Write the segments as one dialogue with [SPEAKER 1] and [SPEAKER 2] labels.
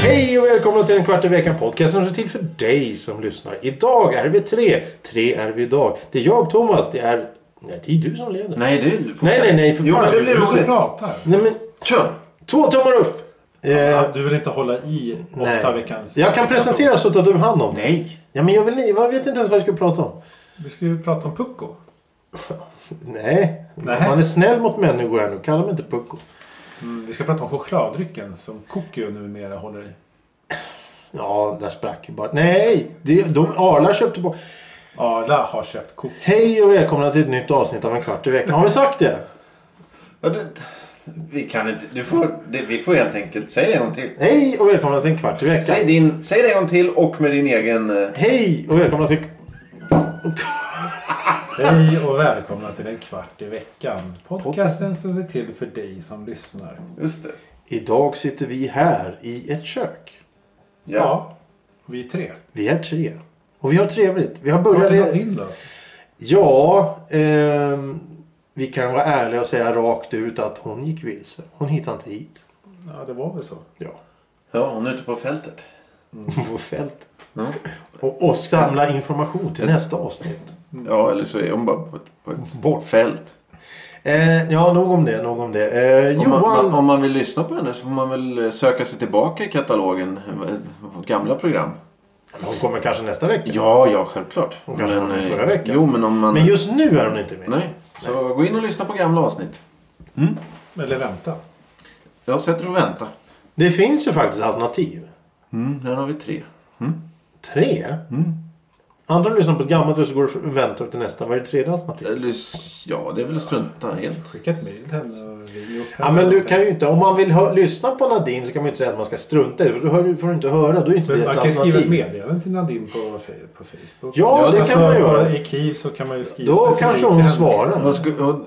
[SPEAKER 1] Hej och välkomna till en kvart i veckan podcast som är till för dig som lyssnar. Idag är vi tre. Tre är vi idag. Det är jag Thomas. Det är... Nej, det är du som leder.
[SPEAKER 2] Nej, du får...
[SPEAKER 1] nej, nej. nej för
[SPEAKER 2] Jo,
[SPEAKER 1] fan.
[SPEAKER 2] men det blir
[SPEAKER 3] Du som
[SPEAKER 2] roligt.
[SPEAKER 3] pratar.
[SPEAKER 1] Nej, men
[SPEAKER 2] Kör!
[SPEAKER 1] två tummar upp. Eh,
[SPEAKER 3] Du vill inte hålla i
[SPEAKER 1] nej.
[SPEAKER 3] åtta veckans...
[SPEAKER 1] Jag kan presentera så tar du hand om.
[SPEAKER 2] Nej!
[SPEAKER 1] Ja, men jag, vill, jag vet inte ens vad jag ska prata om.
[SPEAKER 3] Vi ska ju prata om Pucko.
[SPEAKER 1] Nej.
[SPEAKER 3] Nej.
[SPEAKER 1] Man är snäll mot människor här nu. Kalla mig inte pucko.
[SPEAKER 3] Mm, vi ska prata om chokladdrycken som Kokio numera håller i.
[SPEAKER 1] Ja, där sprack ju bara. Nej! Det, de, Arla köpte på.
[SPEAKER 3] Arla har köpt Kokio.
[SPEAKER 1] Hej och välkomna till ett nytt avsnitt av en kvart i veckan. Har vi sagt det?
[SPEAKER 2] Ja, du... Vi kan inte... Du får... Det, vi får helt enkelt... Säg det en gång till.
[SPEAKER 1] Hej och välkomna till en kvart i veckan.
[SPEAKER 2] Säg, din, säg det en gång till och med din egen... eh,
[SPEAKER 1] Hej och välkomna till...
[SPEAKER 3] Hej och välkomna till en kvart i veckan. Podcasten som är till för dig som lyssnar.
[SPEAKER 2] Just det.
[SPEAKER 1] Idag sitter vi här i ett kök.
[SPEAKER 2] Ja.
[SPEAKER 3] Ja, vi är tre.
[SPEAKER 1] Vi är tre. Och vi har trevligt. Vi har
[SPEAKER 3] Vad är
[SPEAKER 1] börjat...
[SPEAKER 3] din då?
[SPEAKER 1] Ja, ehm, vi kan vara ärliga och säga rakt ut att hon gick vilse. Hon hittade inte hit.
[SPEAKER 3] Ja, det var väl så.
[SPEAKER 1] Ja.
[SPEAKER 2] Ja, hon är ute på fältet.
[SPEAKER 1] På fält.
[SPEAKER 2] Ja,
[SPEAKER 1] Och, och samla information till nästa avsnitt.
[SPEAKER 2] ja eller så är hon bara på ett, på ett
[SPEAKER 1] Bort.
[SPEAKER 2] fält.
[SPEAKER 1] Eh, ja, nog om det. Nog om det. Eh,
[SPEAKER 2] Om man,
[SPEAKER 1] Johan...
[SPEAKER 2] man, om man vill lyssna på henne så får man väl eh, söka sig tillbaka i katalogen. eh, Gamla program.
[SPEAKER 1] Hon kommer kanske nästa vecka.
[SPEAKER 2] Ja, ja, självklart.
[SPEAKER 1] Hon kanske var med
[SPEAKER 2] eh,
[SPEAKER 1] förra veckan.
[SPEAKER 2] Jo, men om man...
[SPEAKER 1] Men just nu är hon inte med.
[SPEAKER 2] Nej. Så gå in och lyssna på gamla avsnitt.
[SPEAKER 3] Eller vänta.
[SPEAKER 2] Jag sätter och väntar.
[SPEAKER 1] Det finns ju faktiskt alternativ.
[SPEAKER 2] Mm, där har vi tre.
[SPEAKER 1] Tre.
[SPEAKER 2] Mm.
[SPEAKER 1] Andra lyssnar på ett gammalt och så går det för- väntar till nästa. Vad är det tredje alternativet?
[SPEAKER 2] Eller, ja, det är väl att strunta helt.
[SPEAKER 3] Skicka ett mejl till henne och ring upp
[SPEAKER 1] Ja, men du kan ju inte, om man vill hö- lyssna på Nadine så kan man ju inte säga att man ska strunta i det. För då hör, du- får du inte höra. Då är ju inte
[SPEAKER 3] Men
[SPEAKER 1] det
[SPEAKER 3] man
[SPEAKER 1] ett
[SPEAKER 3] kan ju skriva ett
[SPEAKER 1] alternativ.
[SPEAKER 3] meddelande till Nadine på, fe- på Facebook.
[SPEAKER 1] Ja,
[SPEAKER 2] Ja,
[SPEAKER 1] det
[SPEAKER 2] alltså,
[SPEAKER 1] kan man göra.
[SPEAKER 3] I Kiev så kan man ju skriva
[SPEAKER 1] Då
[SPEAKER 3] specifikt
[SPEAKER 1] kanske
[SPEAKER 3] till
[SPEAKER 1] hon
[SPEAKER 3] henne.
[SPEAKER 1] svarar.
[SPEAKER 2] Vad sku- och-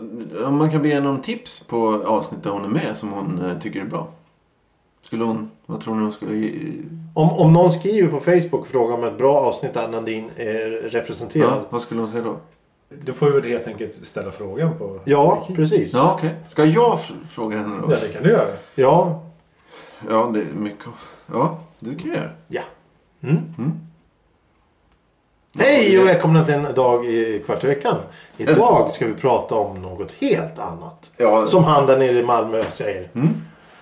[SPEAKER 2] Om man kan be henne om tips på avsnitt där hon är med som hon eh, tycker är bra. Skulle hon, vad tror ni hon skulle ge?
[SPEAKER 1] Om, om någon skriver på Facebook och frågar om ett bra avsnitt där Nadine är representerad.
[SPEAKER 2] Ja, vad skulle hon säga då?
[SPEAKER 3] Då får vi väl helt enkelt ställa frågan på...
[SPEAKER 1] Ja, precis. Ja.
[SPEAKER 2] Ja, okej. Ska jag fr- fråga henne då?
[SPEAKER 3] Ja, det kan du göra.
[SPEAKER 1] Ja.
[SPEAKER 2] Ja, det är mycket. Ja, det kan jag göra.
[SPEAKER 1] Mm. Hej och välkomna till en dag i kvart i veckan. Idag ska vi prata om något helt annat.
[SPEAKER 2] Ja,
[SPEAKER 1] Som han där nere i Malmö säger.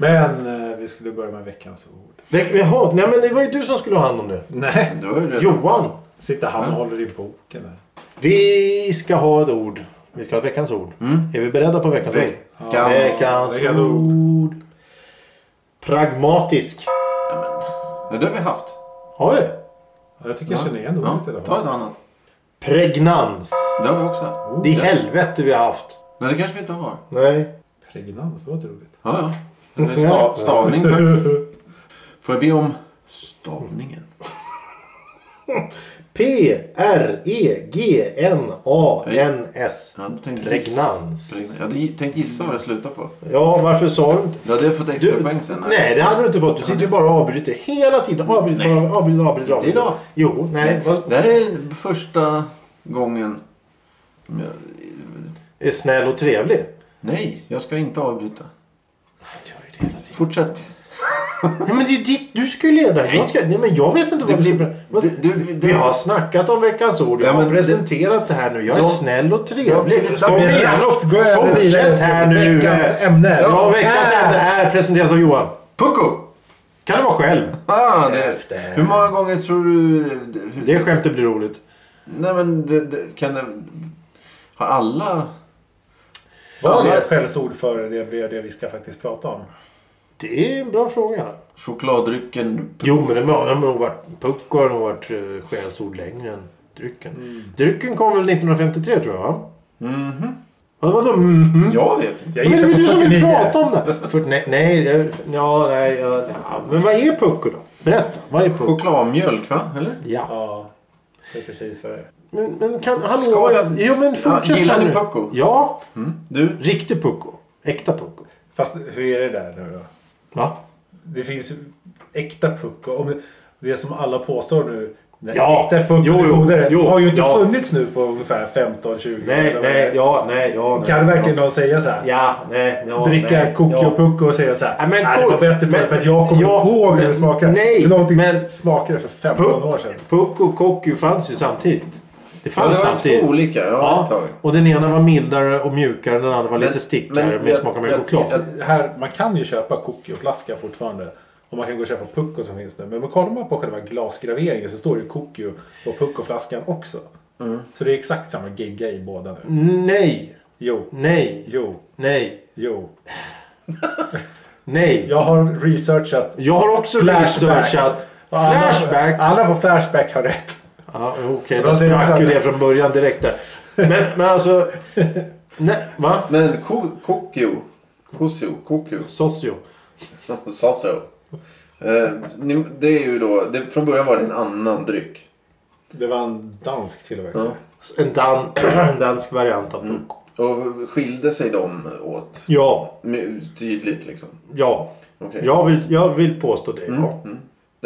[SPEAKER 3] Men eh, vi skulle börja med veckans ord.
[SPEAKER 1] Vä- Jaha, nej men det var ju du som skulle ha hand om det.
[SPEAKER 3] Nej,
[SPEAKER 2] du har ju redan...
[SPEAKER 1] Johan.
[SPEAKER 3] sitter han och håller i boken här.
[SPEAKER 1] Vi ska ha ett ord. Vi ska ha ett veckans ord.
[SPEAKER 2] Mm.
[SPEAKER 1] Är vi beredda på veckans ord?
[SPEAKER 2] Veckans-
[SPEAKER 1] Veckans
[SPEAKER 3] Veckans ord.
[SPEAKER 1] ord. Pragmatisk.
[SPEAKER 2] Ja, det har vi haft.
[SPEAKER 1] Har vi det?
[SPEAKER 3] Ja, Jag tycker jag känner igen ordet i alla
[SPEAKER 2] Ta ett
[SPEAKER 3] fall.
[SPEAKER 2] annat.
[SPEAKER 1] Pregnans.
[SPEAKER 2] Det har vi också haft.
[SPEAKER 1] Det är helvete vi har haft.
[SPEAKER 2] Nej, det kanske vi inte har.
[SPEAKER 1] Nej.
[SPEAKER 3] Pregnans, det låter roligt.
[SPEAKER 2] Ja, ja. Eller Stav, stavning tack. Får jag be om stavningen?
[SPEAKER 1] E P-R-E-G-N-A-N-S.
[SPEAKER 2] Jag hade tänkt
[SPEAKER 1] Pregnans.
[SPEAKER 2] Gissa, jag hade gi- tänkt gissa vad jag slutar på.
[SPEAKER 1] Ja, varför sa du inte?
[SPEAKER 2] Då hade jag fått extra poäng sen.
[SPEAKER 1] Nej, det hade du inte fått. Du sitter ju bara och avbryter hela tiden. Avbryter,
[SPEAKER 2] Nej.
[SPEAKER 1] bara avbryter, avbryter. avbryter.
[SPEAKER 2] idag.
[SPEAKER 1] Jo, nej. Vad,
[SPEAKER 2] Det här är första gången... som Jag...
[SPEAKER 1] är snäll och trevlig.
[SPEAKER 2] Nej, jag ska inte avbryta.
[SPEAKER 1] Han gör ju det hela tiden.
[SPEAKER 2] Fortsätt.
[SPEAKER 1] Nej, men det är ju ditt. Du ska ju leda. Jag, ska, nej, men jag vet inte
[SPEAKER 2] Det
[SPEAKER 1] vad vi ska...
[SPEAKER 2] blir-
[SPEAKER 1] Vad,
[SPEAKER 2] det- du- det-
[SPEAKER 1] vi har snackat om veckans ord. Jag
[SPEAKER 2] Ja, men
[SPEAKER 1] har
[SPEAKER 2] det-
[SPEAKER 1] presenterat det här nu. Jag är
[SPEAKER 2] Ja.
[SPEAKER 1] snäll och
[SPEAKER 2] Jag
[SPEAKER 1] trevlig.
[SPEAKER 2] blir-
[SPEAKER 1] Kom igen,
[SPEAKER 3] Raskt gå över vidare
[SPEAKER 1] Fortsätt
[SPEAKER 3] till
[SPEAKER 1] här nu.
[SPEAKER 3] veckans ämne.
[SPEAKER 1] Ja, veckans ämne här presenteras av Johan.
[SPEAKER 2] Pucko!
[SPEAKER 1] Kan det vara själv?
[SPEAKER 2] Ah, det...
[SPEAKER 1] Käften.
[SPEAKER 2] Hur många gånger tror du... Hur...
[SPEAKER 1] Det skämtet blir roligt.
[SPEAKER 2] Nej men det, det... kan det... Har alla...
[SPEAKER 3] Vad
[SPEAKER 2] Ja,
[SPEAKER 3] är
[SPEAKER 2] men-
[SPEAKER 3] ett skällsord för det, det, det vi ska faktiskt prata om?
[SPEAKER 1] Det är en bra fråga.
[SPEAKER 2] Chokladdrycken...
[SPEAKER 1] Jo, men det har nog varit... Pucko har nog varit eh, skällsord längre än drycken.
[SPEAKER 2] Mm.
[SPEAKER 1] Drycken kom väl 1953 tror jag? va?
[SPEAKER 2] Mhm.
[SPEAKER 1] Vad, vadå? mhm?
[SPEAKER 2] Jag vet inte.
[SPEAKER 3] Jag
[SPEAKER 1] men det
[SPEAKER 3] gissar
[SPEAKER 1] är
[SPEAKER 3] på
[SPEAKER 1] ju du som vill
[SPEAKER 3] 49.
[SPEAKER 1] prata om det. För, nej, nej, det- ja, nej, ja, ja, men vad är pucko då? Berätta, vad är pucko?
[SPEAKER 2] Chokladmjölk va? Eller?
[SPEAKER 1] Ja,
[SPEAKER 3] Ja, det är precis vad det är.
[SPEAKER 1] men, men kan, hallå?
[SPEAKER 2] Ska jag-
[SPEAKER 1] Jo, men fortsätt
[SPEAKER 2] Ja, gillar
[SPEAKER 1] här
[SPEAKER 2] ni
[SPEAKER 1] nu.
[SPEAKER 2] pucko?
[SPEAKER 1] Ja,
[SPEAKER 2] Du?
[SPEAKER 1] riktig pucko. Äkta pucko.
[SPEAKER 3] Fast hur är det där nu då?
[SPEAKER 1] Va?
[SPEAKER 3] Det finns ju äkta puck. Och om det, det som alla påstår nu. Den
[SPEAKER 1] Ja,
[SPEAKER 3] äkta pucken
[SPEAKER 1] jo,
[SPEAKER 3] är
[SPEAKER 1] jo,
[SPEAKER 3] godare.
[SPEAKER 1] jo,
[SPEAKER 3] har ju inte
[SPEAKER 1] ja.
[SPEAKER 3] funnits nu på ungefär
[SPEAKER 1] Nej,
[SPEAKER 3] 15-20 eller vad det
[SPEAKER 1] nej,
[SPEAKER 3] är.
[SPEAKER 1] ja, nej, ja. Nej,
[SPEAKER 3] Kan verkligen
[SPEAKER 1] ja.
[SPEAKER 3] någon säga så här?
[SPEAKER 1] Ja, nej, ja,
[SPEAKER 3] Dricka
[SPEAKER 1] nej,
[SPEAKER 3] koki
[SPEAKER 1] ja.
[SPEAKER 3] och pucko och säga så här.
[SPEAKER 1] Ja, men
[SPEAKER 3] "Nej, det
[SPEAKER 1] kolla,
[SPEAKER 3] var bättre förr
[SPEAKER 1] men-
[SPEAKER 3] för att jag kommer
[SPEAKER 1] ja,
[SPEAKER 3] ihåg hur
[SPEAKER 1] men-
[SPEAKER 3] det smakade.
[SPEAKER 1] nej,
[SPEAKER 3] för någonting
[SPEAKER 1] men-
[SPEAKER 3] smakade för 15
[SPEAKER 1] Puck-
[SPEAKER 3] år sedan.
[SPEAKER 1] Puck och koku fanns ju samtidigt. Det
[SPEAKER 2] Ja, det
[SPEAKER 1] fanns
[SPEAKER 2] var
[SPEAKER 1] samtidigt.
[SPEAKER 2] två olika. Ja, ett
[SPEAKER 1] Ja,
[SPEAKER 2] tag.
[SPEAKER 1] och den ena var mildare och mjukare. Den andra var
[SPEAKER 2] Men-
[SPEAKER 1] lite stickigare
[SPEAKER 2] men
[SPEAKER 1] med
[SPEAKER 2] jag-
[SPEAKER 1] smakar mer
[SPEAKER 2] jag-
[SPEAKER 1] choklad.
[SPEAKER 2] jag-
[SPEAKER 3] Här, man kan ju köpa kokoflaska fortfarande. Och man kan gå och köpa pucko som finns nu. Men man kollar man på själva glasgraveringen så står det ju kokio på puckoflaskan också.
[SPEAKER 1] Mm.
[SPEAKER 3] Så det är exakt samma gegga i båda nu.
[SPEAKER 1] Nej,
[SPEAKER 3] Jo,
[SPEAKER 1] nej,
[SPEAKER 3] jo,
[SPEAKER 1] nej,
[SPEAKER 3] jo.
[SPEAKER 1] nej.
[SPEAKER 3] Jag har researchat.
[SPEAKER 1] Jag har också
[SPEAKER 3] Flashback.
[SPEAKER 1] researchat.
[SPEAKER 3] Och alla-
[SPEAKER 1] Flashback.
[SPEAKER 3] Alla på Flashback har rätt.
[SPEAKER 1] Ja, Okej, då
[SPEAKER 3] Vad säger du,
[SPEAKER 1] sprack ju
[SPEAKER 3] Alexander?
[SPEAKER 1] det från början direkt där. Men, men alltså... Nej, va?
[SPEAKER 2] Men ko- Kokio. Kosio. Kokio.
[SPEAKER 1] Socio.
[SPEAKER 2] Sa så. Eh, ni- det är ju då, det, från början var det en annan dryck.
[SPEAKER 3] Det var en dansk tillverkare.
[SPEAKER 2] Ja.
[SPEAKER 1] En, dan, en dansk variant av puck.
[SPEAKER 2] Och skilde sig de åt?
[SPEAKER 1] Ja,
[SPEAKER 2] My- Tydligt liksom.
[SPEAKER 1] ja.
[SPEAKER 2] Okej.
[SPEAKER 1] Jag vill, jag vill påstå det. Ja.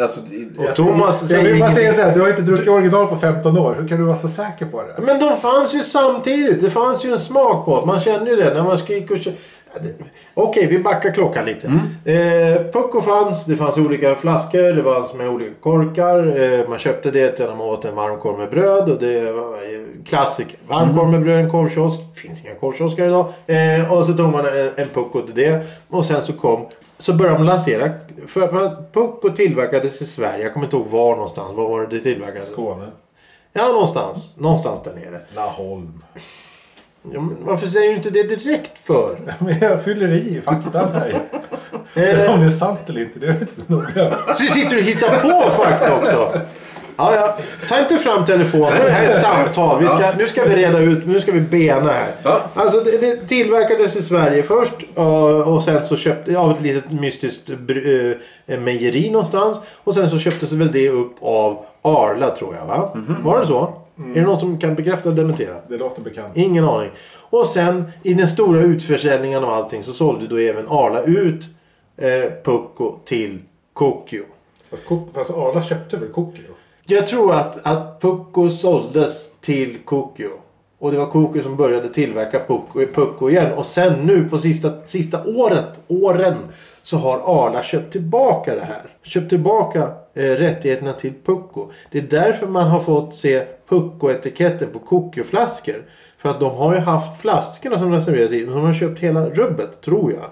[SPEAKER 2] Alltså, det-
[SPEAKER 1] Och Thomas
[SPEAKER 3] Jag
[SPEAKER 1] säger
[SPEAKER 3] vill bara säga
[SPEAKER 1] ingenting.
[SPEAKER 3] så här, du har inte druckit original på 15 år. Hur kan du vara så säker på det?
[SPEAKER 1] Men de fanns ju samtidigt. Det fanns ju en smak på det. Man känner ju det när man gick och kö- Okej, vi backar klockan lite. Eh, Pucko fanns, det fanns olika flaskor, det fanns med olika korkar. Eh, man köpte det när man åt en varmkorv med bröd. Och det var eh, klassiker. Varmkorv med bröd, en korvkiosk. finns inga korvkiosker idag. Eh, och så tog man en, en Pucko till det. Och sen så kom... Så började man lansera... För, för Pucko tillverkades i Sverige. Jag kommer inte ihåg var någonstans. Var var det det tillverkades?
[SPEAKER 3] Skåne.
[SPEAKER 1] Ja, någonstans. Någonstans där nere.
[SPEAKER 3] Laholm.
[SPEAKER 1] Ja, men varför säger du inte det direkt för?
[SPEAKER 3] Men jag fyller i fakta här. Sen om det är sant eller inte, det är inte så noga.
[SPEAKER 1] Så sitter du och hittar på fakta också. Ja, ja. Ta inte fram telefonen. Det här är ett samtal. Vi ska, nu ska vi reda ut, nu ska vi bena här.
[SPEAKER 2] Ja.
[SPEAKER 1] Alltså det, det tillverkades i Sverige först eh, och sen så köpte av ett litet mystiskt br- eh, mejeri någonstans. Och sen så köptes väl det upp av Arla tror jag va? Var det så? Är det någon som kan bekräfta eller dementera?
[SPEAKER 3] Det låter bekant.
[SPEAKER 1] Ingen aning. Och sen i den stora utförsäljningen av allting så sålde då även Arla ut eh, Pucko till Kokyo.
[SPEAKER 3] Fast, Kok- fast Arla köpte väl Kokio?
[SPEAKER 1] Jag tror att, att Pucko såldes till Kokyo. Och det var Kokyo som började tillverka Pucko, Pucko igen. Och sen nu på sista, sista året, åren, så har Arla köpt tillbaka det här. Köpt tillbaka eh, rättigheterna till Pucko. Det är därför man har fått se Pucko-etiketten på Kokyo-flaskor. För att de har ju haft flaskorna som reserveras i. De har köpt hela rubbet, tror jag.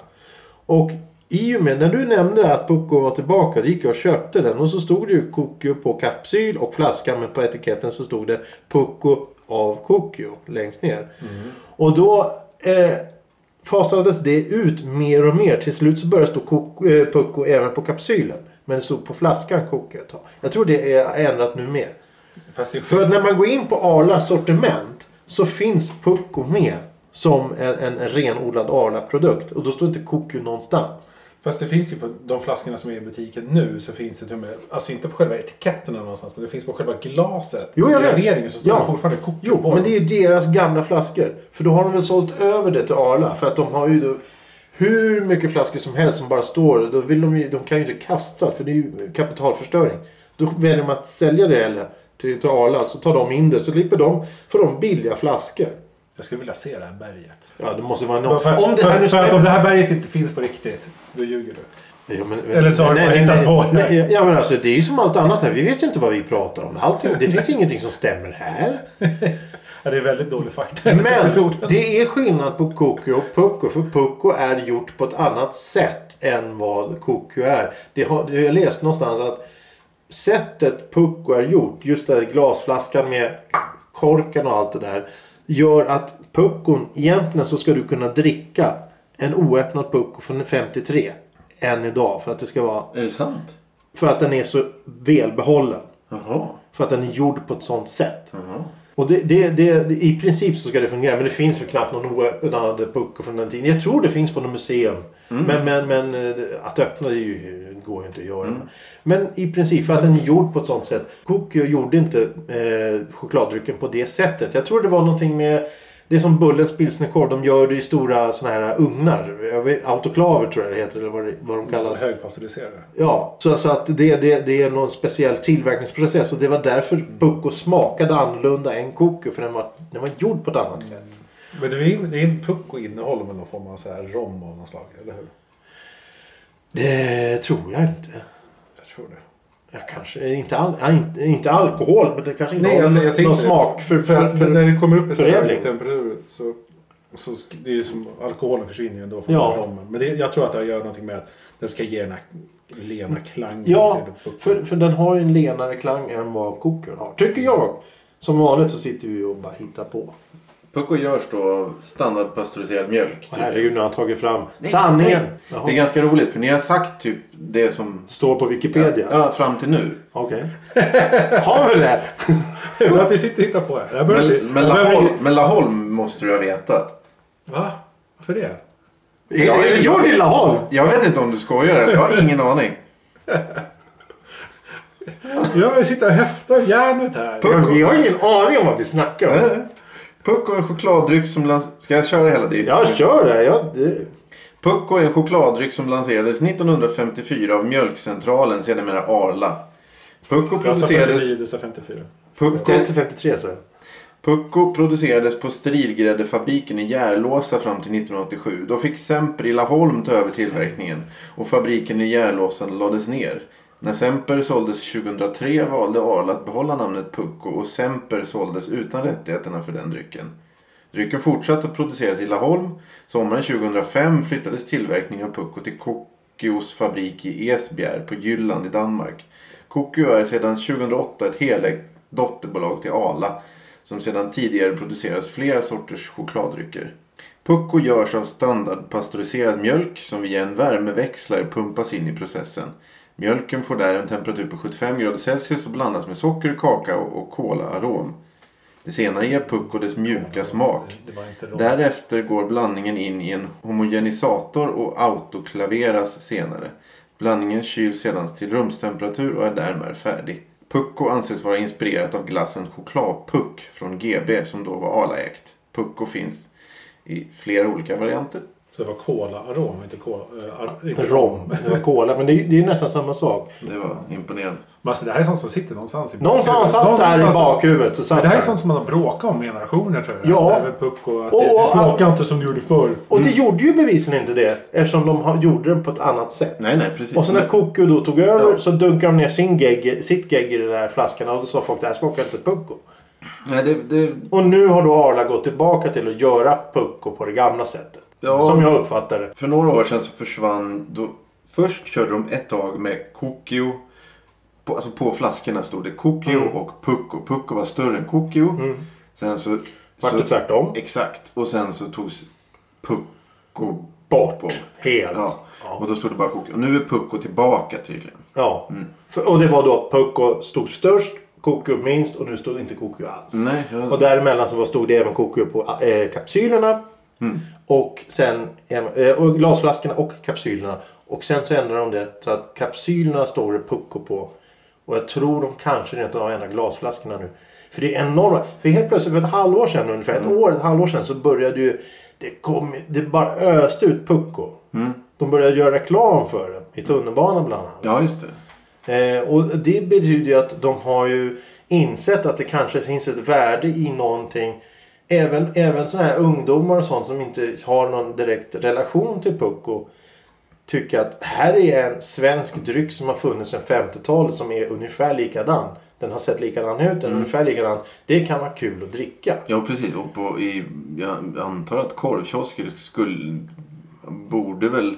[SPEAKER 1] Och i och med när du nämnde att Pucko var tillbaka då gick jag och köpte den och så stod det ju Kokyo på kapsyl och flaskan men på etiketten så stod det Pucko av Kokyo längst ner. Och då eh, fasades det ut mer och mer. Till slut så började det stå Kok- eh, Pucko även på kapsylen. Men det stod på flaskan Kokyo ett tag. Jag tror det är ändrat nu mer.
[SPEAKER 3] Fast det är
[SPEAKER 1] För att när man går in på Arlas sortiment så finns Pucko med som en, en renodlad Arla-produkt. Och då står inte Kokyo någonstans.
[SPEAKER 3] Fast det finns ju på de flaskorna som är i butiken nu så finns det till och med, alltså inte på själva etiketterna någonstans, men det finns på själva glaset.
[SPEAKER 1] Jo, jag vet.
[SPEAKER 3] Graveringen så står
[SPEAKER 1] Ja.
[SPEAKER 3] det fortfarande kokio
[SPEAKER 1] Jo,
[SPEAKER 3] på
[SPEAKER 1] men det
[SPEAKER 3] den.
[SPEAKER 1] är ju deras gamla flaskor. För då har de väl sålt över det till Arla. För att de har ju då hur mycket flaskor som helst som bara står. Då vill de, ju, de kan ju inte kasta för det är ju kapitalförstöring. Då väljer de att sälja det eller till, till Arla. Så tar de in det. Så slipper de, får de billiga flaskor.
[SPEAKER 3] Jag skulle vilja se det här berget.
[SPEAKER 1] Ja, det måste vara
[SPEAKER 3] Bara
[SPEAKER 1] någon...
[SPEAKER 3] För,
[SPEAKER 1] om det
[SPEAKER 3] för,
[SPEAKER 1] här nu
[SPEAKER 3] för att
[SPEAKER 1] stämmer-
[SPEAKER 3] om det här berget inte finns på riktigt, då ljuger du.
[SPEAKER 1] Ja, men,
[SPEAKER 3] Eller så har de bara hittat på det.
[SPEAKER 1] nej, Ja men alltså det är ju som allt annat här. Vi vet ju inte vad vi pratar om. Allting, det finns ju ingenting som stämmer här.
[SPEAKER 3] Ja, det är väldigt dålig fakta. i den här
[SPEAKER 1] Men
[SPEAKER 3] episoden.
[SPEAKER 1] det är skillnad på Kokyo och Pucko. För Pucko är gjort på ett annat sätt än vad Kokyo är. Det har, jag läste någonstans att sättet Pucko är gjort, just det här glasflaskan med korken och allt det där. Gör att Puckon, egentligen så ska du kunna dricka en oöppnad Pucko från 53 än idag. För att det ska vara
[SPEAKER 2] Är det sant?
[SPEAKER 1] för att den är så välbehållen.
[SPEAKER 2] Jaha.
[SPEAKER 1] För att den är gjord på ett sånt sätt.
[SPEAKER 2] Jaha.
[SPEAKER 1] Och det, det, det, det, i princip så ska det fungera. Men det finns för knappt någon oöppnad pucko från den tiden. Jag tror det finns på något museum. Men, men, men eh, att öppna det är ju, går ju inte att göra. Men i princip för att den är gjord på ett sånt sätt. Cook gjorde inte eh, chokladdrycken på det sättet. Jag tror det var någonting med Det är som Bullens pilsnerkorv. De gör det i stora såna här ugnar. Jag vet, autoklaver tror jag det heter. Eller vad, det, vad de kallas.
[SPEAKER 3] Högpasteuriserade.
[SPEAKER 1] Ja, så alltså att det, det, det är någon speciell tillverkningsprocess och det var därför Bucco smakade annorlunda än Coco för den var, den var gjord på ett annat sätt.
[SPEAKER 3] Men det är, det är en puck och innehåll med någon form av så här rom av något slag, eller hur?
[SPEAKER 1] Det tror jag inte.
[SPEAKER 3] Jag tror det.
[SPEAKER 1] Ja, kanske, inte, al, ja, inte, inte alkohol men det kanske inte
[SPEAKER 3] Nej,
[SPEAKER 1] har
[SPEAKER 3] alltså,
[SPEAKER 1] någon,
[SPEAKER 3] jag ser
[SPEAKER 1] någon
[SPEAKER 3] inte-
[SPEAKER 1] smak. För,
[SPEAKER 3] För,
[SPEAKER 1] för, för,
[SPEAKER 3] när det kommer upp i sådana
[SPEAKER 1] förädling.
[SPEAKER 3] här temperaturer så, så sk- det är ju som alkoholen försvinner ju ändå från
[SPEAKER 1] Ja.
[SPEAKER 3] rommen. Men det, jag tror att det gör någonting med att den ska ge den här lena klangen
[SPEAKER 1] ja,
[SPEAKER 3] till pucken.
[SPEAKER 1] för, för den har ju en lenare klang än vad Coco har. Tycker jag. Som vanligt så sitter vi och bara hittar på.
[SPEAKER 2] Pucko görs då av standardpastöriserad mjölk.
[SPEAKER 1] Och
[SPEAKER 2] Typ.
[SPEAKER 1] herregud nu har han tagit fram sanningen. Jaha.
[SPEAKER 2] Det är ganska roligt för ni har sagt typ det som...
[SPEAKER 1] Står på Wikipedia.
[SPEAKER 2] Ja, fram till nu.
[SPEAKER 1] Okej. Har vi det?
[SPEAKER 3] För att vi sitter och hittar på här. Jag behöver
[SPEAKER 2] Men,
[SPEAKER 3] inte-
[SPEAKER 2] men,
[SPEAKER 3] jag behöver
[SPEAKER 2] Laholm,
[SPEAKER 3] inte-
[SPEAKER 2] men Laholm måste du ha vetat.
[SPEAKER 3] Va? Varför det?
[SPEAKER 1] Ja, är det jag i Laholm?
[SPEAKER 2] Jag vet inte om du skojar eller jag har ingen aning.
[SPEAKER 3] Jag vill sitta och häfta järnet här.
[SPEAKER 1] Vi har ingen aning om vad vi snackar om.
[SPEAKER 2] Eh, Pucko är en chokladdryck som lans... Ska jag köra hela det?
[SPEAKER 1] Jag kör det. Jag, det.
[SPEAKER 2] Pucko är en chokladdryck som lanserades 1954 av Mjölkcentralen, sedermera Arla. Pucko
[SPEAKER 3] Jag sa
[SPEAKER 2] producerades,
[SPEAKER 3] 49, du sa 54.
[SPEAKER 2] Pucko,
[SPEAKER 1] 353 så.
[SPEAKER 2] Pucko producerades på sterilgräddefabriken i Järlåsa fram till 1987. Då fick Semper i Laholm ta över tillverkningen och fabriken i Järlåsa lades ner. När Semper såldes 2003 valde Arla att behålla namnet Pucko och Semper såldes utan rättigheterna för den drycken. Drycken fortsatte att produceras i Laholm. Sommaren 2005 flyttades tillverkningen av Pucko till Kokkios fabrik i Esbjerg på Jylland i Danmark. Kokkio är sedan 2008 ett helägt dotterbolag till Arla som sedan tidigare produceras flera sorters chokladdrycker. Pucko görs av standardpastöriserad mjölk som via en värmeväxlare pumpas in i processen. Mjölken får där en temperatur på 75 grader Celsius och blandas med socker, kakao och kolaarom. Det senare ger Pucko dess mjuka smak.
[SPEAKER 3] Det var inte rom.
[SPEAKER 2] Därefter går blandningen in i en homogenisator och autoklaveras senare. Blandningen kyls sedan till rumstemperatur och är därmed färdig. Pucko anses vara inspirerat av glassen chokladpuck från GB som då var Arlaägt. Pucko finns i flera olika varianter.
[SPEAKER 3] Så det var kola-arom, inte kola... Äh, ar, inte
[SPEAKER 1] Rom. Det var cola. Men det är, det är nästan samma sak.
[SPEAKER 2] Det var imponerande.
[SPEAKER 3] Men alltså, det här är sånt som sitter någonstans i
[SPEAKER 1] Någonstans satt
[SPEAKER 3] Någonstans-
[SPEAKER 1] där i bakhuvudet. Och, satt
[SPEAKER 3] Men det här är
[SPEAKER 1] där.
[SPEAKER 3] sånt som man har bråkat om i generationer tror jag.
[SPEAKER 1] Ja.
[SPEAKER 3] Över puck och att
[SPEAKER 1] Och-
[SPEAKER 3] det, det
[SPEAKER 1] och-
[SPEAKER 3] smakar inte som det gjorde förr.
[SPEAKER 1] och det gjorde ju bevisligen inte det. Eftersom de har- gjorde den på ett annat sätt.
[SPEAKER 2] Nej, nej, precis.
[SPEAKER 1] Och sen när
[SPEAKER 2] Men-
[SPEAKER 1] Coco då tog över
[SPEAKER 2] Ja.
[SPEAKER 1] så dunkade de ner sin gegg, sitt gegg i den där flaskan. Och då sa folk det här smakar inte Pucko.
[SPEAKER 2] nej, det, det,
[SPEAKER 1] Och nu har då Arla gått tillbaka till att göra Pucko på det gamla sättet.
[SPEAKER 2] Ja.
[SPEAKER 1] Som jag uppfattar det.
[SPEAKER 2] För några år sedan så försvann... Då, först körde de ett tag med Kokio. På, alltså på flaskorna stod det Kokio
[SPEAKER 1] Mm.
[SPEAKER 2] och Pucko. Pucko var större än Kokio. Sen så...
[SPEAKER 1] Vart
[SPEAKER 2] så
[SPEAKER 1] det tvärtom.
[SPEAKER 2] exakt. Och sen så togs Pucko
[SPEAKER 1] Bort.
[SPEAKER 2] bort.
[SPEAKER 1] Helt.
[SPEAKER 2] Ja. Och då stod det bara Kokio. Och nu är Pucko tillbaka tydligen.
[SPEAKER 1] Ja. För, och det var då Pucko stod störst, Koku minst och nu stod inte Koku alls.
[SPEAKER 2] Nej, jag-
[SPEAKER 1] Och däremellan så var, stod det även Koku på eh, kapsylerna. Och sen eh, och glasflaskorna och kapsylerna. Och sen så ändrade de det så att kapsylerna står det Pucko på. Och jag tror de kanske rent av har ändrat glasflaskorna nu. För det är enorma. För helt plötsligt för ett halvår sedan ungefär. Ett år, ett halvår sedan så började ju. Det, kom, det bara öste ut Pucko. De började göra reklam för det. I tunnelbanan bland annat.
[SPEAKER 2] Ja, just det.
[SPEAKER 1] Eh, och det betyder ju att de har ju insett att det kanske finns ett värde i någonting. Även, även sådana här ungdomar och sånt som inte har någon direkt relation till Pucko. Tycker att här är en svensk dryck som har funnits sedan 50-talet som är ungefär likadan. Den har sett likadan ut, den är ungefär likadan. Det kan vara kul att dricka.
[SPEAKER 2] Ja, precis. Och på, i, jag antar att korvkiosker skulle... Borde väl... i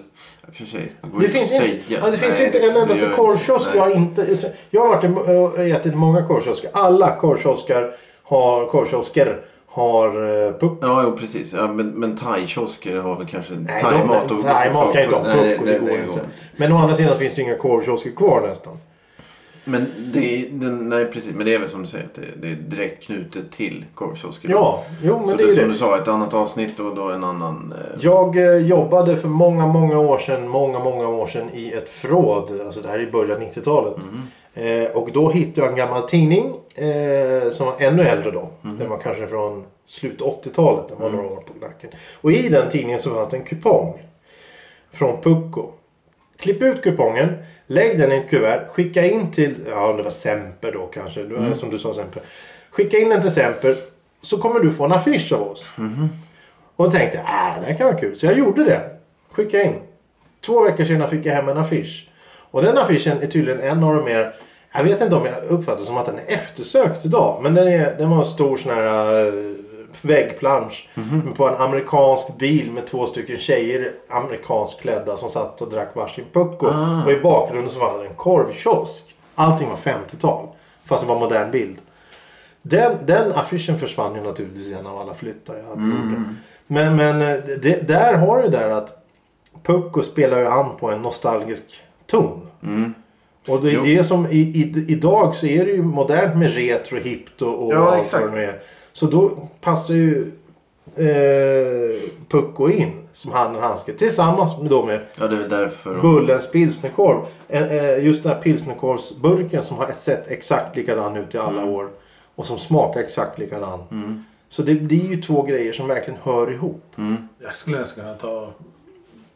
[SPEAKER 2] och För sig, går
[SPEAKER 1] Det
[SPEAKER 2] inte
[SPEAKER 1] finns,
[SPEAKER 2] att
[SPEAKER 1] inte,
[SPEAKER 2] säga.
[SPEAKER 1] ja, det finns ju
[SPEAKER 2] Nej,
[SPEAKER 1] inte en enda
[SPEAKER 2] det gör
[SPEAKER 1] som
[SPEAKER 2] jag
[SPEAKER 1] korvkiosk
[SPEAKER 2] inte. Nej.
[SPEAKER 1] jag inte... alltså, Jag har varit i- och ätit många korvkiosker. Alla korvkioskar har, korvkiosker har eh, puck.
[SPEAKER 2] Ja, jo, precis. Ja, men men thai-kiosker har väl kanske
[SPEAKER 1] Nej,
[SPEAKER 2] thai-mat
[SPEAKER 1] de-
[SPEAKER 2] och-
[SPEAKER 1] thai-mat kan ju inte ha
[SPEAKER 2] Nej,
[SPEAKER 1] puck. och
[SPEAKER 2] det-
[SPEAKER 1] Det
[SPEAKER 2] det-
[SPEAKER 1] går
[SPEAKER 2] det
[SPEAKER 1] ju
[SPEAKER 2] går
[SPEAKER 1] inte.
[SPEAKER 2] inte.
[SPEAKER 1] Men å andra sidan finns det ju inga korvkiosker kvar nästan.
[SPEAKER 2] Men det, är- den, nej, precis. Men det är väl som du säger, att det, det är direkt knutet till korvkiosker.
[SPEAKER 1] Ja, jo men
[SPEAKER 2] Så
[SPEAKER 1] det
[SPEAKER 2] det,
[SPEAKER 1] är ju
[SPEAKER 2] som du
[SPEAKER 1] det.
[SPEAKER 2] sa, ett annat avsnitt och då en annan... Eh,
[SPEAKER 1] Jag eh, jobbade för många, många år sedan, många, många år sedan i ett förråd. Alltså det här är i början av 90-talet. Eh, och då hittade jag en gammal tidning eh, som var ännu äldre då. Den var kanske från slut 80-talet. Den var några år på nacken. Och i den tidningen så fanns det en kupong. Från Pucko. Klipp ut kupongen. Lägg den i ett kuvert. Skicka in till, ja det var Semper då kanske. Det var Som du sa Semper. Skicka in den till Semper. Så kommer du få en affisch av oss. Och då tänkte jag, ah, det här kan vara kul. Så jag gjorde det. Skickade in. Två veckor senare fick jag hem en affisch. Och den affischen är tydligen en av de mer... Jag vet inte om jag uppfattar som att den är eftersökt idag. Men den, är, den var en stor sån här eh, väggplansch. På en amerikansk bil med två stycken tjejer amerikanskt klädda som satt och drack varsin pucko. Och i bakgrunden så fanns det en korvkiosk. Allting var 50-tal. Fast det var en modern bild. Den, den affischen försvann ju naturligtvis i en av alla flyttar jag hade
[SPEAKER 2] mm.
[SPEAKER 1] gjort. Men, men eh, det, där har du där att Pucko spelar ju an på en nostalgisk ton.
[SPEAKER 2] Mm.
[SPEAKER 1] Och det är
[SPEAKER 2] Jo.
[SPEAKER 1] det som i, i, idag så är det ju modernt med retro, hippt och, och
[SPEAKER 4] Ja,
[SPEAKER 1] allt
[SPEAKER 4] exakt.
[SPEAKER 1] vad det nu är. Så då passar ju eh, Pucko in som handen och handske. Tillsammans med, då med
[SPEAKER 2] Ja, det är väl därför. de-
[SPEAKER 1] Bullens pilsnerkorv. Eh, eh, Just den här pilsnerkorvsburken som har sett exakt likadan ut i alla
[SPEAKER 4] Mm.
[SPEAKER 1] år. Och som smakar exakt likadan.
[SPEAKER 2] Mm,
[SPEAKER 1] Så det blir ju två grejer som verkligen hör ihop.
[SPEAKER 2] mm,
[SPEAKER 3] Jag skulle nästan kunna ta,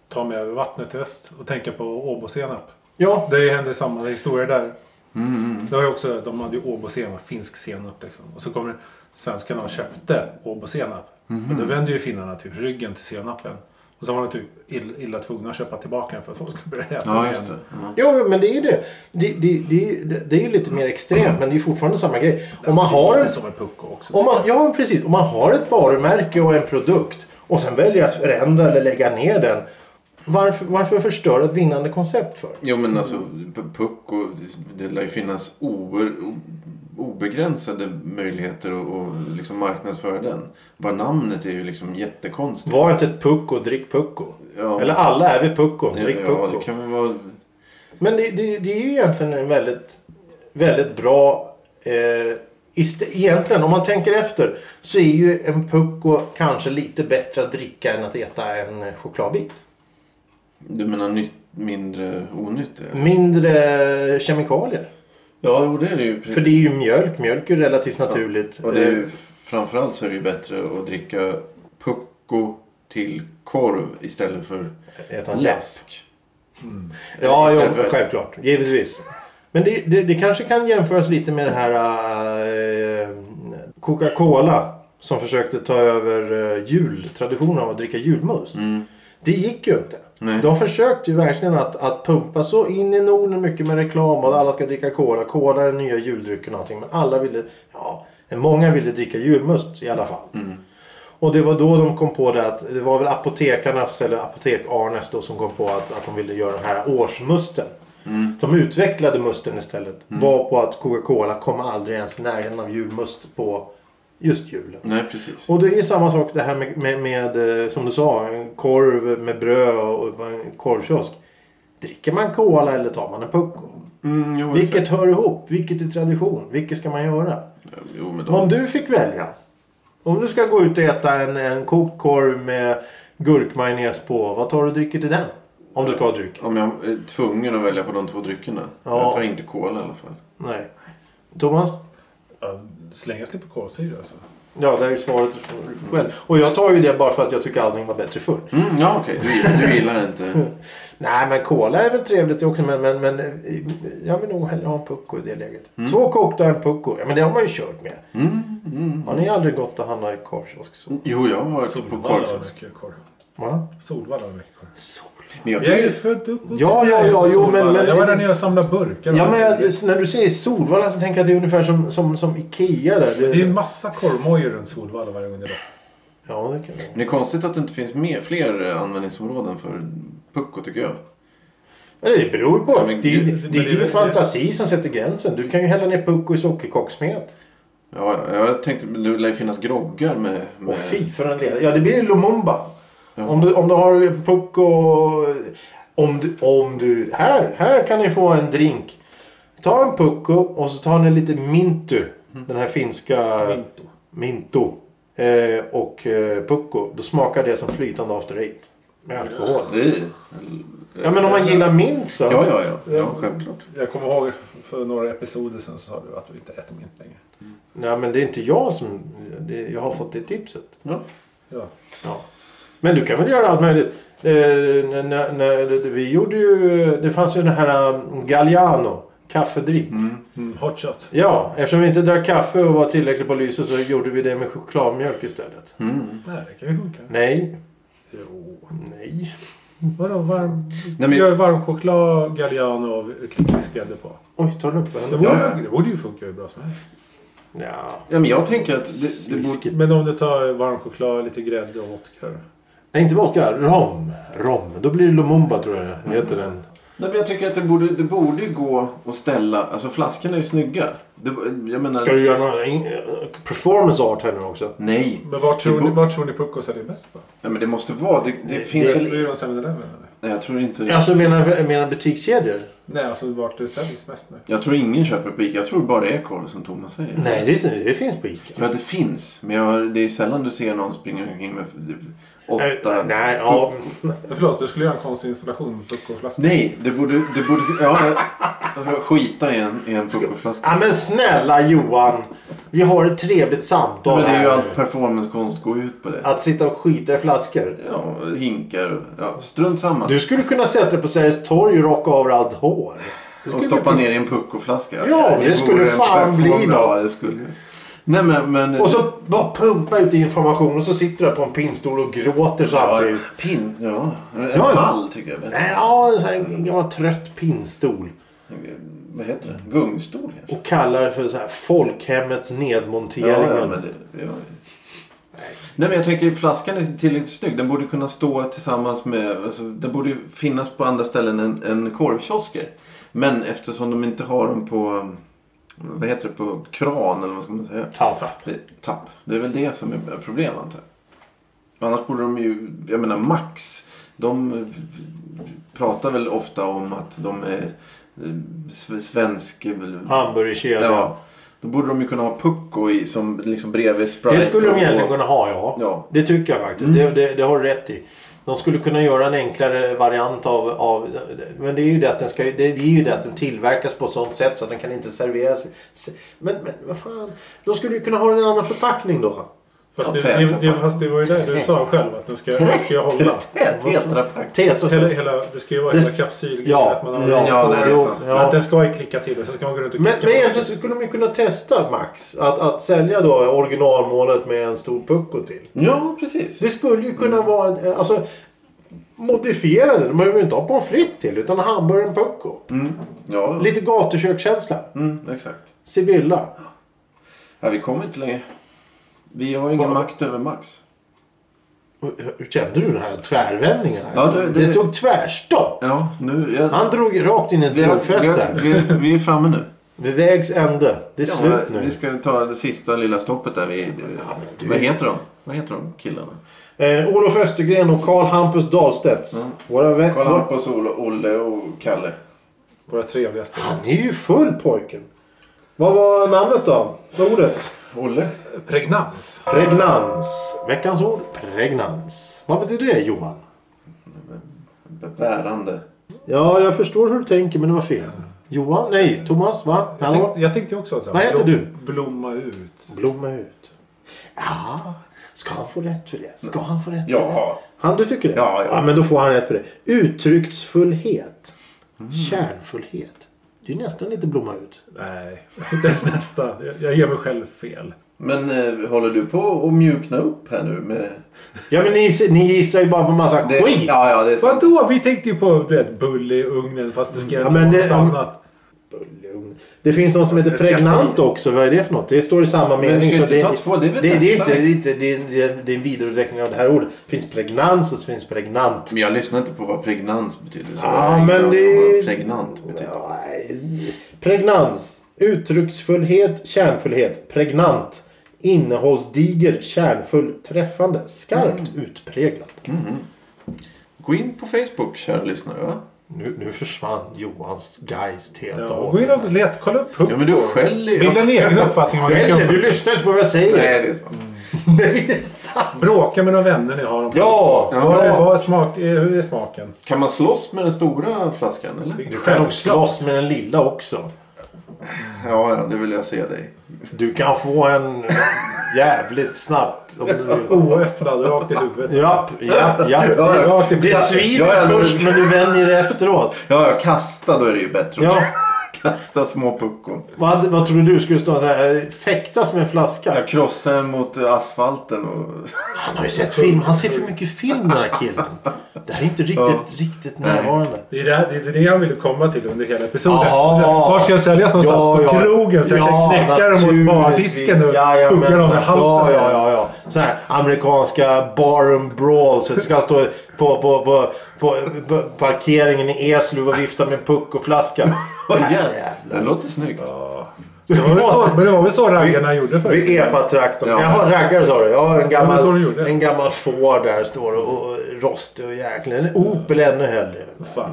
[SPEAKER 3] ta mig över vattnet till öst och tänka på Åbosenap.
[SPEAKER 1] Ja,
[SPEAKER 3] Det hände samma historia där.
[SPEAKER 2] mm,
[SPEAKER 3] Det var ju också, de hade ju åbosenap, finsk senap liksom. Och så kommer svenskarna och köpte åbosenap.
[SPEAKER 1] Mhm.
[SPEAKER 3] Men då vände ju finnarna typ ryggen till senapen. Och så var de typ ill, illa tvungna att köpa tillbaka den för att folk skulle börja äta
[SPEAKER 2] Ja,
[SPEAKER 3] den
[SPEAKER 2] just
[SPEAKER 3] igen.
[SPEAKER 2] det. Ja.
[SPEAKER 1] Jo, jo, men det är ju det. Det, det, det, det är ju lite mer extremt, men det är ju fortfarande samma grej. Om man har
[SPEAKER 3] Det är
[SPEAKER 1] en...
[SPEAKER 3] som en pucko också.
[SPEAKER 1] Om man, ja, precis. Om man har ett varumärke och en produkt och sen väljer att förändra eller lägga ner den. Varför, varför förstöra ett vinnande koncept för?
[SPEAKER 2] Jo men alltså p- puck och det lär ju finnas oer, o- obegränsade möjligheter att att liksom marknadsföra den. Bara namnet är ju liksom jättekonstigt.
[SPEAKER 1] Var inte ett pucko, drick pucko.
[SPEAKER 2] Ja.
[SPEAKER 1] Eller alla är vi pucko, drick pucko.
[SPEAKER 2] ja, det kan väl vara...
[SPEAKER 1] Men det, det, det är ju egentligen en väldigt, väldigt bra... Eh, iste- egentligen, om man tänker efter, så är ju en pucko kanske lite bättre att dricka än att äta en chokladbit.
[SPEAKER 2] Du menar nytt, mindre onytt?
[SPEAKER 1] Mm.
[SPEAKER 2] ja.
[SPEAKER 1] Mindre kemikalier.
[SPEAKER 2] Ja, jo, det är det ju. precis.
[SPEAKER 1] För det är ju mjölk. Mjölk är ju relativt naturligt.
[SPEAKER 2] Och det är
[SPEAKER 1] Eh,
[SPEAKER 2] ju, framförallt så är det ju bättre att dricka pucko till korv istället för
[SPEAKER 1] äta en glass.
[SPEAKER 2] läsk.
[SPEAKER 1] Ja, ja
[SPEAKER 2] Istället för-
[SPEAKER 1] självklart. Givetvis. Men det, det, det kanske kan jämföras lite med det här eh, Coca-Cola. Som försökte ta över eh, jultraditionen av att dricka julmust.
[SPEAKER 2] Mm.
[SPEAKER 1] Det gick ju inte.
[SPEAKER 2] Nej.
[SPEAKER 1] De försökte ju verkligen att, att pumpa så in i Norden mycket med reklam och att alla ska dricka cola. Cola är den nya juldrycken och allting. Men alla ville, ja, många ville dricka julmust i alla fall. Och det var då de kom på det att det var väl apotekarnas eller apotek-Arnes då som kom på att, att de ville göra den här årsmusten. De utvecklade musten istället. Var på att Coca-Cola kom aldrig ens i närheten av julmust på just julen.
[SPEAKER 2] Nej, precis.
[SPEAKER 1] Och det är samma sak det här med, med, med eh, som du sa, en korv med bröd och och en korvkiosk. Dricker man cola eller tar man en pucko?
[SPEAKER 2] Mm, jo,
[SPEAKER 1] Vilket
[SPEAKER 2] exakt.
[SPEAKER 1] hör ihop? Vilket är tradition? Vilket ska man göra?
[SPEAKER 2] Jo, men
[SPEAKER 1] Om
[SPEAKER 2] de...
[SPEAKER 1] du fick välja. Om du ska gå ut och äta en, en kokt korv med gurkmajonnäs på. Vad tar du och dricker till den? Om du ska ha dryck.
[SPEAKER 2] Om jag är tvungen att välja på de två dryckerna.
[SPEAKER 1] Ja.
[SPEAKER 2] Jag tar inte cola i alla fall.
[SPEAKER 1] Nej. Thomas?
[SPEAKER 3] Ja, slängas lite på kolsyra alltså.
[SPEAKER 1] Ja, det är ju svaret själv. Och jag tar ju det bara för att jag tycker allting var bättre förr.
[SPEAKER 2] Mm, ja, okej. Du, du gillar inte...
[SPEAKER 1] Nej, men cola är väl trevligt det också. Men, men, men eh, jag vill nog hellre ha en pucko i det läget. Två kokta och en pucko. Ja, men det har man ju kört med.
[SPEAKER 2] Mm, mm.
[SPEAKER 1] Har ni aldrig gått och handlat i korvkiosk? så?
[SPEAKER 2] Jo, jag har
[SPEAKER 1] typ
[SPEAKER 2] varit på
[SPEAKER 3] Solvalla har
[SPEAKER 2] korv.
[SPEAKER 3] mycket korv.
[SPEAKER 1] Va?
[SPEAKER 3] Solvalla har mycket korv.
[SPEAKER 2] Men jag
[SPEAKER 3] Jag är
[SPEAKER 2] tycker...
[SPEAKER 3] ju född upp
[SPEAKER 1] Ja, ja, ja, jo, men- men-
[SPEAKER 3] Jag var där nere och samlade burkar.
[SPEAKER 1] Ja, men jag, när du säger Solvalla så tänker jag att det är ungefär som, som, som Ikea där.
[SPEAKER 3] Det är en massa korvmojor runt Solvalla varje gång jag är där.
[SPEAKER 1] Ja, det kan det vara.
[SPEAKER 2] Men det är konstigt att det inte finns mer, fler eh, användningsområden för pucko tycker jag.
[SPEAKER 1] Ja, Det beror ju på.
[SPEAKER 2] Ja,
[SPEAKER 1] det,
[SPEAKER 2] men
[SPEAKER 1] det,
[SPEAKER 2] gud.
[SPEAKER 1] det,
[SPEAKER 3] Men
[SPEAKER 1] är
[SPEAKER 3] det är
[SPEAKER 1] din
[SPEAKER 3] väl-
[SPEAKER 1] fantasi som sätter gränsen. Du kan ju hälla ner pucko i sockerkocksmet.
[SPEAKER 2] Ja, jag tänkte det lär ju finnas groggar med... med...
[SPEAKER 1] Och fy för en ledare. Ja, det blir ju Lumumba.
[SPEAKER 2] Eh, Ja.
[SPEAKER 1] Om, du, om du har pucko... Om du, om du... Här, här kan ni få en drink. Ta en pucko och så tar ni lite mintu.
[SPEAKER 2] Mm.
[SPEAKER 1] Den här finska...
[SPEAKER 3] Mintu.
[SPEAKER 1] Mintu. Eh, och eh, pucko. Då smakar det som flytande after eight. Med alkohol.
[SPEAKER 2] Vi.
[SPEAKER 1] Ja men om man gillar mint så.
[SPEAKER 2] Ja, ja, ja. ja självklart.
[SPEAKER 3] Jag kommer ihåg för några episoder sen så sa du att du inte äter mint längre.
[SPEAKER 1] Nej men det är inte jag som... Det, jag har fått det tipset.
[SPEAKER 2] Ja.
[SPEAKER 3] Ja.
[SPEAKER 1] Ja. Men du kan väl göra allt möjligt. Eh, när, när, när, vi gjorde ju... Det fanns ju den här um, Galliano. Kaffedrink.
[SPEAKER 3] Mm, Hot shot.
[SPEAKER 1] Ja, eftersom vi inte drack kaffe och var tillräckligt på lyset så gjorde vi det med chokladmjölk istället.
[SPEAKER 2] Mm.
[SPEAKER 3] Nej, det kan ju funka.
[SPEAKER 1] Nej.
[SPEAKER 3] Jo.
[SPEAKER 1] Nej.
[SPEAKER 3] Vadå varm?
[SPEAKER 2] Nej, men-
[SPEAKER 3] Gör varm choklad, galliano och klippvisk grädde på.
[SPEAKER 1] Oj, tar den upp
[SPEAKER 3] Det
[SPEAKER 1] varandra?
[SPEAKER 3] borde,
[SPEAKER 2] Ja, ja.
[SPEAKER 3] det borde ju funka hur bra som helst.
[SPEAKER 1] Ja.
[SPEAKER 2] Ja, men jag tänker att det, det borde...
[SPEAKER 1] Sliskigt.
[SPEAKER 3] Men om du tar varm choklad, lite grädde och vodka. då?
[SPEAKER 1] Nej, inte vodka. Rom. Rom. Då blir det Lumumba tror jag det heter
[SPEAKER 2] Mm.
[SPEAKER 1] den.
[SPEAKER 2] Nej, men jag tycker att det borde, det borde gå att ställa... Alltså flaskorna är ju snygga. Det, jag menar...
[SPEAKER 1] Ska du göra någon in- performance art här nu också?
[SPEAKER 2] Nej.
[SPEAKER 3] Men var tror,
[SPEAKER 2] Det bo-
[SPEAKER 3] ni, var tror ni puckos är det bäst då?
[SPEAKER 2] Nej, men det måste vara... Det, det finns
[SPEAKER 3] Finns
[SPEAKER 2] väl...
[SPEAKER 3] det i 7-Eleven eller?
[SPEAKER 2] Nej, jag tror inte...
[SPEAKER 1] Alltså menar, menar butikskedjor?
[SPEAKER 3] Nej, alltså vart det säljs mest nu.
[SPEAKER 2] Jag tror ingen köper på Ica. Jag tror bara det är korv som Thomas säger.
[SPEAKER 1] Nej, det, det finns på Ica.
[SPEAKER 2] Ja, det finns. Men jag, har- det är ju sällan du ser någon springa omkring med åtta...
[SPEAKER 1] Eh, nej, ja.
[SPEAKER 3] Men Eh, Förlåt, du skulle göra en konstig installation med puckoflaskor.
[SPEAKER 2] Nej, det borde... Det borde ja, jag ska skita i en, i en puckoflaska.
[SPEAKER 1] ja, men snälla Johan. Vi har ett trevligt samtal
[SPEAKER 2] Men det är ju
[SPEAKER 1] här
[SPEAKER 2] allt
[SPEAKER 1] nu.
[SPEAKER 2] performancekonst går ut på det.
[SPEAKER 1] Att sitta och skita i flaskor.
[SPEAKER 2] Ja, hinkar. Ja, strunt samma.
[SPEAKER 1] Du skulle kunna sätta dig på Sveriges torg och raka av dig allt hår.
[SPEAKER 2] Och stoppa ner i en puckoflaska.
[SPEAKER 1] Ja, det skulle
[SPEAKER 2] vore en
[SPEAKER 1] fan bli
[SPEAKER 2] perform- Ja,
[SPEAKER 1] något.
[SPEAKER 2] det skulle. Nej, men... men
[SPEAKER 1] Och så bara pumpa ut information och så sitter du där på en pinnstol och gråter
[SPEAKER 2] Ja,
[SPEAKER 1] samtidigt.
[SPEAKER 2] pin... Ja. En
[SPEAKER 1] Ja.
[SPEAKER 2] pall tycker jag.
[SPEAKER 1] Nej, ja, en sån här gammal trött pinnstol.
[SPEAKER 2] Vad heter det? Gungstol kanske?
[SPEAKER 1] Och kallar det för så här folkhemmets nedmontering.
[SPEAKER 2] Ja, ja, men det, ja. Nej men jag tänker flaskan är tillräckligt snygg. Den borde kunna stå tillsammans med, alltså, den borde ju finnas på andra ställen än, än korvkiosker. Men eftersom de inte har dem på, um, vad heter det, på kran eller vad ska man säga?
[SPEAKER 1] Tapp.
[SPEAKER 2] Det, tapp. Det är väl det som är problemet antar jag. Annars borde de ju, jag menar Max. De eh, pratar väl ofta om att de är eh, sve- svensk... eller-
[SPEAKER 1] Hamburgerkedja.
[SPEAKER 2] Ja. Då borde de ju kunna ha Pucko i som liksom bredvid Sprite.
[SPEAKER 1] Det skulle de
[SPEAKER 2] och-
[SPEAKER 1] egentligen kunna ha, ja.
[SPEAKER 2] Ja.
[SPEAKER 1] Det tycker jag faktiskt.
[SPEAKER 2] Mm.
[SPEAKER 1] Det, det, det har du rätt i. De skulle kunna göra en enklare variant av... av men det är, ju det, att den ska, det, det är ju det att den tillverkas på sånt sätt så att den kan inte serveras. se- Men, men vad fan. De skulle ju kunna ha en annan förpackning då.
[SPEAKER 3] Fast,
[SPEAKER 2] Ja,
[SPEAKER 3] det, det, det,
[SPEAKER 2] tätpack.
[SPEAKER 3] fast det var ju det du sa själv att den ska, den ska ju hålla.
[SPEAKER 2] Tet- Tetrapack.
[SPEAKER 1] Tetra.
[SPEAKER 3] Hela, hela, det ska ju vara
[SPEAKER 1] Det-
[SPEAKER 3] hela kapsylgrejen.
[SPEAKER 1] Ja.
[SPEAKER 3] att man har-
[SPEAKER 2] Ja,
[SPEAKER 1] jo,
[SPEAKER 2] nej, det är sant.
[SPEAKER 1] ja.
[SPEAKER 3] Att den ska ju klicka till och sen ska man gå runt och
[SPEAKER 1] Men,
[SPEAKER 3] klicka
[SPEAKER 1] men
[SPEAKER 3] på
[SPEAKER 1] egentligen så skulle de ju kunna testa Max. Att, att sälja då originalmålet med en stor pucko till.
[SPEAKER 2] Ja, precis.
[SPEAKER 1] Det skulle ju
[SPEAKER 2] Mm.
[SPEAKER 1] kunna vara en, alltså, modifierade. De behöver ju inte ha pommes frites till utan hamburgaren pucko.
[SPEAKER 2] Mm. Ja,
[SPEAKER 1] Lite gatukökskänsla.
[SPEAKER 2] mm, exakt.
[SPEAKER 1] Sibylla.
[SPEAKER 2] Ja, vi kommer inte längre. Vi har ingen
[SPEAKER 1] Vad-
[SPEAKER 2] makt över Max.
[SPEAKER 1] Hur- Hur kände du den här tvärvändningen? här?
[SPEAKER 2] Ja, det- det-
[SPEAKER 1] tog tvärstopp.
[SPEAKER 2] Ja, nu... Jag,
[SPEAKER 1] Han drog rakt in i ett
[SPEAKER 2] vi, har,
[SPEAKER 1] drogfäst
[SPEAKER 2] vi,
[SPEAKER 1] där.
[SPEAKER 2] har, vi, är- vi är framme nu.
[SPEAKER 1] Vid vägs ände. Det är
[SPEAKER 2] Ja,
[SPEAKER 1] slut nu.
[SPEAKER 2] vi ska ta det sista lilla stoppet där. Vi,
[SPEAKER 1] du-
[SPEAKER 2] vad heter de? Vad heter de killarna?
[SPEAKER 1] Eh, Olof Östergren och Karl Hampus Dahlstedts. Våra vä-
[SPEAKER 2] Karl
[SPEAKER 1] vår...
[SPEAKER 2] Hampus, Olle, Olle och Kalle.
[SPEAKER 3] Våra trevligaste.
[SPEAKER 1] Han är ju full pojken. Vad var namnet då? Ordet?
[SPEAKER 2] Olle?
[SPEAKER 3] eh, Pregnans.
[SPEAKER 1] Pregnans. Veckans ord. Pregnans. Vad betyder det Johan?
[SPEAKER 2] Bärande.
[SPEAKER 1] Ja, jag förstår hur du tänker men det var fel. Johan? Nej, Thomas va?
[SPEAKER 3] Jag
[SPEAKER 1] Hallå?
[SPEAKER 3] tänkte, jag tänkte ju också att så här,
[SPEAKER 1] Vad heter
[SPEAKER 3] blom-
[SPEAKER 1] du?
[SPEAKER 3] Blomma ut.
[SPEAKER 1] Blomma ut. Ja, ska han få rätt för det? Ska han få rätt för det?
[SPEAKER 2] Ja.
[SPEAKER 1] Han, du tycker det?
[SPEAKER 2] Ja, ja.
[SPEAKER 1] men då får han rätt för det. Uttrycksfullhet. Kärnfullhet. Det är ju nästan lite blomma ut.
[SPEAKER 3] Nej, inte ens nästa. Jag, jag ger mig själv fel.
[SPEAKER 2] Men eh, håller du på att mjukna upp här nu med...
[SPEAKER 1] Ja, men ni, ni gissar ju bara på massa
[SPEAKER 2] Det-
[SPEAKER 1] skit.
[SPEAKER 2] Ja, ja, det är sant.
[SPEAKER 3] Vadå? Vi tänkte ju på du vet, bull i ugnen fast det ska
[SPEAKER 1] Ja,
[SPEAKER 3] ja,
[SPEAKER 1] men
[SPEAKER 3] något
[SPEAKER 1] det-
[SPEAKER 3] annat.
[SPEAKER 1] Lugn. Det finns någon som
[SPEAKER 2] Alltså,
[SPEAKER 1] heter
[SPEAKER 3] Ska jag
[SPEAKER 1] pregnant
[SPEAKER 3] säga?
[SPEAKER 1] också. Vad är det för något? Det står i samma mening.
[SPEAKER 2] vi ska
[SPEAKER 1] så
[SPEAKER 2] inte ta två, det är väl
[SPEAKER 1] det, det, är
[SPEAKER 2] nästa
[SPEAKER 1] inte, det, är inte, det, är, det är- det är en vidareutveckling av det här ordet. Det finns pregnans och det finns pregnant.
[SPEAKER 2] Men jag lyssnar inte på vad pregnans betyder. Så jag har
[SPEAKER 1] Ja,
[SPEAKER 2] ingen
[SPEAKER 1] men
[SPEAKER 2] aning
[SPEAKER 1] det...
[SPEAKER 2] om vad pregnant betyder.
[SPEAKER 1] Ja, nej. pregnans. Uttrycksfullhet, kärnfullhet. Pregnant. Innehållsdiger, kärnfull, träffande. Skarpt
[SPEAKER 2] Mm.
[SPEAKER 1] utpräglad.
[SPEAKER 2] Gå in på Facebook, kära lyssnare. Va?
[SPEAKER 1] Nu, nu försvann Johans geist helt och
[SPEAKER 3] Ja, gå in
[SPEAKER 1] hållet.
[SPEAKER 3] och let, kolla upp Pucko.
[SPEAKER 2] Ja, men du skäller ju.
[SPEAKER 3] Bilda en egen uppfattning. om vad du
[SPEAKER 1] Skäller,
[SPEAKER 3] kan-
[SPEAKER 1] Du lyssnar inte på vad jag säger.
[SPEAKER 2] Nej, det är sant.
[SPEAKER 1] Nej, det är sant!
[SPEAKER 3] Bråka med några vänner ni har om
[SPEAKER 1] Ja!
[SPEAKER 2] Ja.
[SPEAKER 3] Vad är, vad är smak, eh, hur är smaken?
[SPEAKER 2] Kan man slåss med den stora flaskan eller?
[SPEAKER 1] Du kan nog slåss med den lilla också.
[SPEAKER 2] Ja, ja, det vill jag se dig.
[SPEAKER 1] Du kan få en jävligt snabbt om du vill.
[SPEAKER 3] Oöppnad, rakt i huvudet.
[SPEAKER 1] Japp, japp, japp.
[SPEAKER 3] ja.
[SPEAKER 1] Det, det svider
[SPEAKER 2] Ja, ja,
[SPEAKER 1] först men du vänjer dig efteråt.
[SPEAKER 2] Ja, ja, kasta då är det ju bättre.
[SPEAKER 1] Ja,
[SPEAKER 2] Kasta små puckon.
[SPEAKER 1] vad, vad tror du skulle stå så här? Fäktas med en flaska?
[SPEAKER 2] Jag krossar den mot asfalten och...
[SPEAKER 1] Han har ju sett film. Han ser för mycket film den här killen. Det här är inte riktigt,
[SPEAKER 2] Ja.
[SPEAKER 1] riktigt närvarande.
[SPEAKER 3] Det är det, här- det är det jag ville komma till under hela episoden.
[SPEAKER 1] Jaha.
[SPEAKER 3] Var ska jag säljas någonstans?
[SPEAKER 1] Ja,
[SPEAKER 3] på
[SPEAKER 1] ja.
[SPEAKER 3] krogen så jag
[SPEAKER 1] Ja,
[SPEAKER 3] kan knäcka dem mot bardisken
[SPEAKER 1] naturligtvis.
[SPEAKER 3] och
[SPEAKER 1] Jajamän.
[SPEAKER 3] hugga dem i
[SPEAKER 1] Ja,
[SPEAKER 3] halsen.
[SPEAKER 1] ja, ja, ja. Så här amerikanska bar and brawl. Så det ska stå på, på, på, på, på parkeringen i Eslöv och vifta med puck och flaska.
[SPEAKER 2] Vad
[SPEAKER 1] Här
[SPEAKER 2] jävlar. Det låter snyggt.
[SPEAKER 3] Det var väl så, men det var väl så raggarna gjorde förut?
[SPEAKER 1] Vid epatraktorn.
[SPEAKER 2] Ja.
[SPEAKER 1] Jaha, raggare sa du. Ja, en
[SPEAKER 3] men så de
[SPEAKER 1] gammal,
[SPEAKER 3] gjorde.
[SPEAKER 1] en gammal Ford där står och, och rostig och jäkla. En Opel ännu hellre.
[SPEAKER 3] Fan,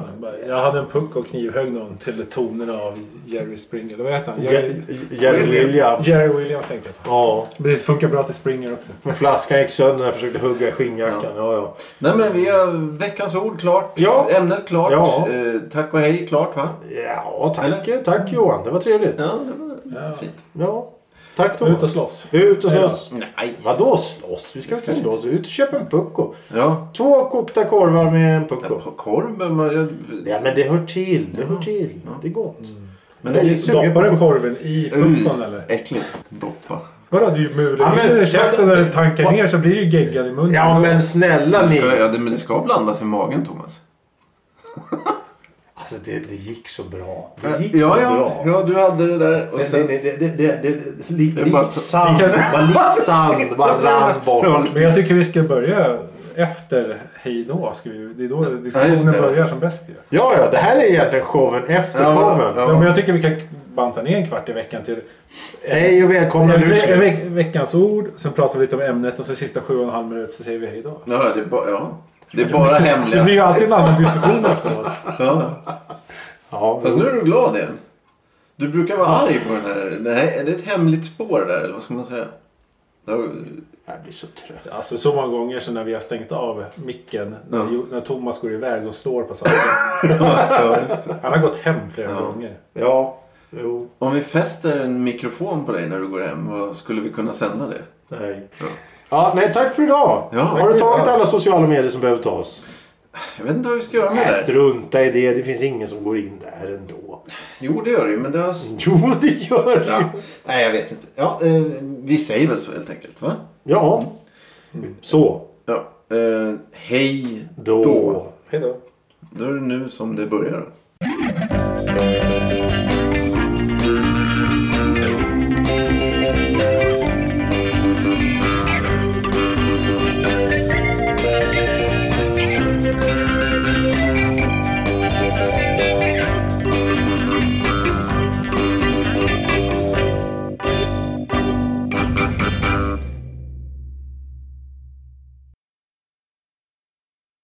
[SPEAKER 3] jag hade en puck och knivhögg någon till tonerna av Jerry Springer. Vad heter han?
[SPEAKER 1] Jerry
[SPEAKER 3] Jerry,
[SPEAKER 1] Jerry Williams.
[SPEAKER 3] Jerry Williams tänkte jag på.
[SPEAKER 1] Ja.
[SPEAKER 3] Men det funkar bra till Springer också.
[SPEAKER 1] Men flaskan gick sönder när jag försökte hugga i skinnjackan. Ja, ja.
[SPEAKER 2] Nej men vi har veckans ord klart.
[SPEAKER 1] Ja.
[SPEAKER 2] Ämnet klart.
[SPEAKER 1] Ja.
[SPEAKER 2] Eh, tack och hej klart va?
[SPEAKER 1] Ja, tack,
[SPEAKER 2] Eller?
[SPEAKER 1] tack Johan. Det var trevligt.
[SPEAKER 2] Ja, det var
[SPEAKER 3] Ja.
[SPEAKER 2] fint.
[SPEAKER 1] Ja. Tack
[SPEAKER 3] Ut och
[SPEAKER 1] Thomas.
[SPEAKER 3] slåss.
[SPEAKER 1] Ut och slåss.
[SPEAKER 2] Nej.
[SPEAKER 1] Vadå slåss? Vi ska inte
[SPEAKER 2] ska vi
[SPEAKER 1] slåss. Ut och köp en pucko.
[SPEAKER 2] Ja.
[SPEAKER 1] Två kokta korvar med en pucko.
[SPEAKER 2] På korv behöver man... Jag...
[SPEAKER 1] Ja, men det hör till. Det hör till. Det är gott.
[SPEAKER 2] Men
[SPEAKER 1] Jag är sugen på Mm.
[SPEAKER 3] Doppar du korven i puckon eller?
[SPEAKER 2] Äckligt. Doppa.
[SPEAKER 3] Vadå, det är ju
[SPEAKER 1] Ja, men-
[SPEAKER 3] mulen i käften när den tankar
[SPEAKER 1] Vad-
[SPEAKER 3] ner så blir det ju geggan i munnen.
[SPEAKER 1] Ja, men snälla
[SPEAKER 2] Mm. Det
[SPEAKER 1] ni.
[SPEAKER 2] ska, ja, det, men det ska blandas i magen Thomas.
[SPEAKER 1] Alltså det, det gick så bra. Det gick
[SPEAKER 2] Äh, ja,
[SPEAKER 1] så
[SPEAKER 2] ja,
[SPEAKER 1] bra.
[SPEAKER 2] ja, du hade det där.
[SPEAKER 1] Men
[SPEAKER 2] Och
[SPEAKER 1] det,
[SPEAKER 2] sen...
[SPEAKER 1] det, det, det, det, det, li,
[SPEAKER 2] Det är
[SPEAKER 1] likt
[SPEAKER 2] bara-
[SPEAKER 1] sand.
[SPEAKER 3] Vi
[SPEAKER 1] Bara likt sand bara rann bort.
[SPEAKER 3] Men jag tycker vi ska börja efter hej då. Ska vi, det är då diskussionen
[SPEAKER 2] det.
[SPEAKER 3] börjar som bäst ju.
[SPEAKER 1] Ja, ja, det här är egentligen showen efter
[SPEAKER 2] Ja,
[SPEAKER 1] showen.
[SPEAKER 2] ja.
[SPEAKER 3] Ja. men jag tycker vi kan banta ner en kvart i veckan till
[SPEAKER 1] Hej och välkomna
[SPEAKER 3] en,
[SPEAKER 1] nu.
[SPEAKER 3] ve- en
[SPEAKER 1] ska-
[SPEAKER 3] veck, veckans ord. Sen pratar vi lite om ämnet och så sista sju och en halv minut så säger vi hej då.
[SPEAKER 2] Ja, det är bara... Ja. Det är bara
[SPEAKER 3] Det
[SPEAKER 2] hemliga.
[SPEAKER 3] blir ju alltid en annan diskussion efteråt.
[SPEAKER 2] Ja.
[SPEAKER 1] Ja,
[SPEAKER 2] Fast nu är du glad igen. Du brukar vara arg på den här. Nej, är det ett hemligt spår där eller vad ska man säga? Ja,
[SPEAKER 1] jag blir så trött.
[SPEAKER 3] Alltså så många gånger sen när vi har stängt av micken. När,
[SPEAKER 2] Ja.
[SPEAKER 3] Jo- när Thomas går iväg och slår på saker.
[SPEAKER 2] ja, just det.
[SPEAKER 3] Han har gått hem flera
[SPEAKER 2] Ja.
[SPEAKER 3] gånger.
[SPEAKER 1] Ja, jo,
[SPEAKER 2] Om vi fäster en mikrofon på dig när du går hem, vad skulle vi kunna sända det?
[SPEAKER 1] nej. Ja, nej, tack för idag.
[SPEAKER 2] Ja, tack
[SPEAKER 1] Har
[SPEAKER 3] för
[SPEAKER 1] du tagit
[SPEAKER 3] idag.
[SPEAKER 1] alla sociala medier som behöver tas?
[SPEAKER 2] Jag vet inte vad vi ska göra med
[SPEAKER 1] Nej,
[SPEAKER 2] det.
[SPEAKER 1] strunta i det. Det finns ingen som går in där ändå.
[SPEAKER 2] Jo, det gör det ju, men det har...
[SPEAKER 1] Jo, det gör det
[SPEAKER 2] Ja.
[SPEAKER 1] ju.
[SPEAKER 2] Nej, jag vet inte. Ja, eh, vi säger väl så helt enkelt, va?
[SPEAKER 1] Ja. Så.
[SPEAKER 2] Ja. Eh, hej
[SPEAKER 1] Då.
[SPEAKER 2] då.
[SPEAKER 3] Hej då.
[SPEAKER 2] Då är det nu som det börjar.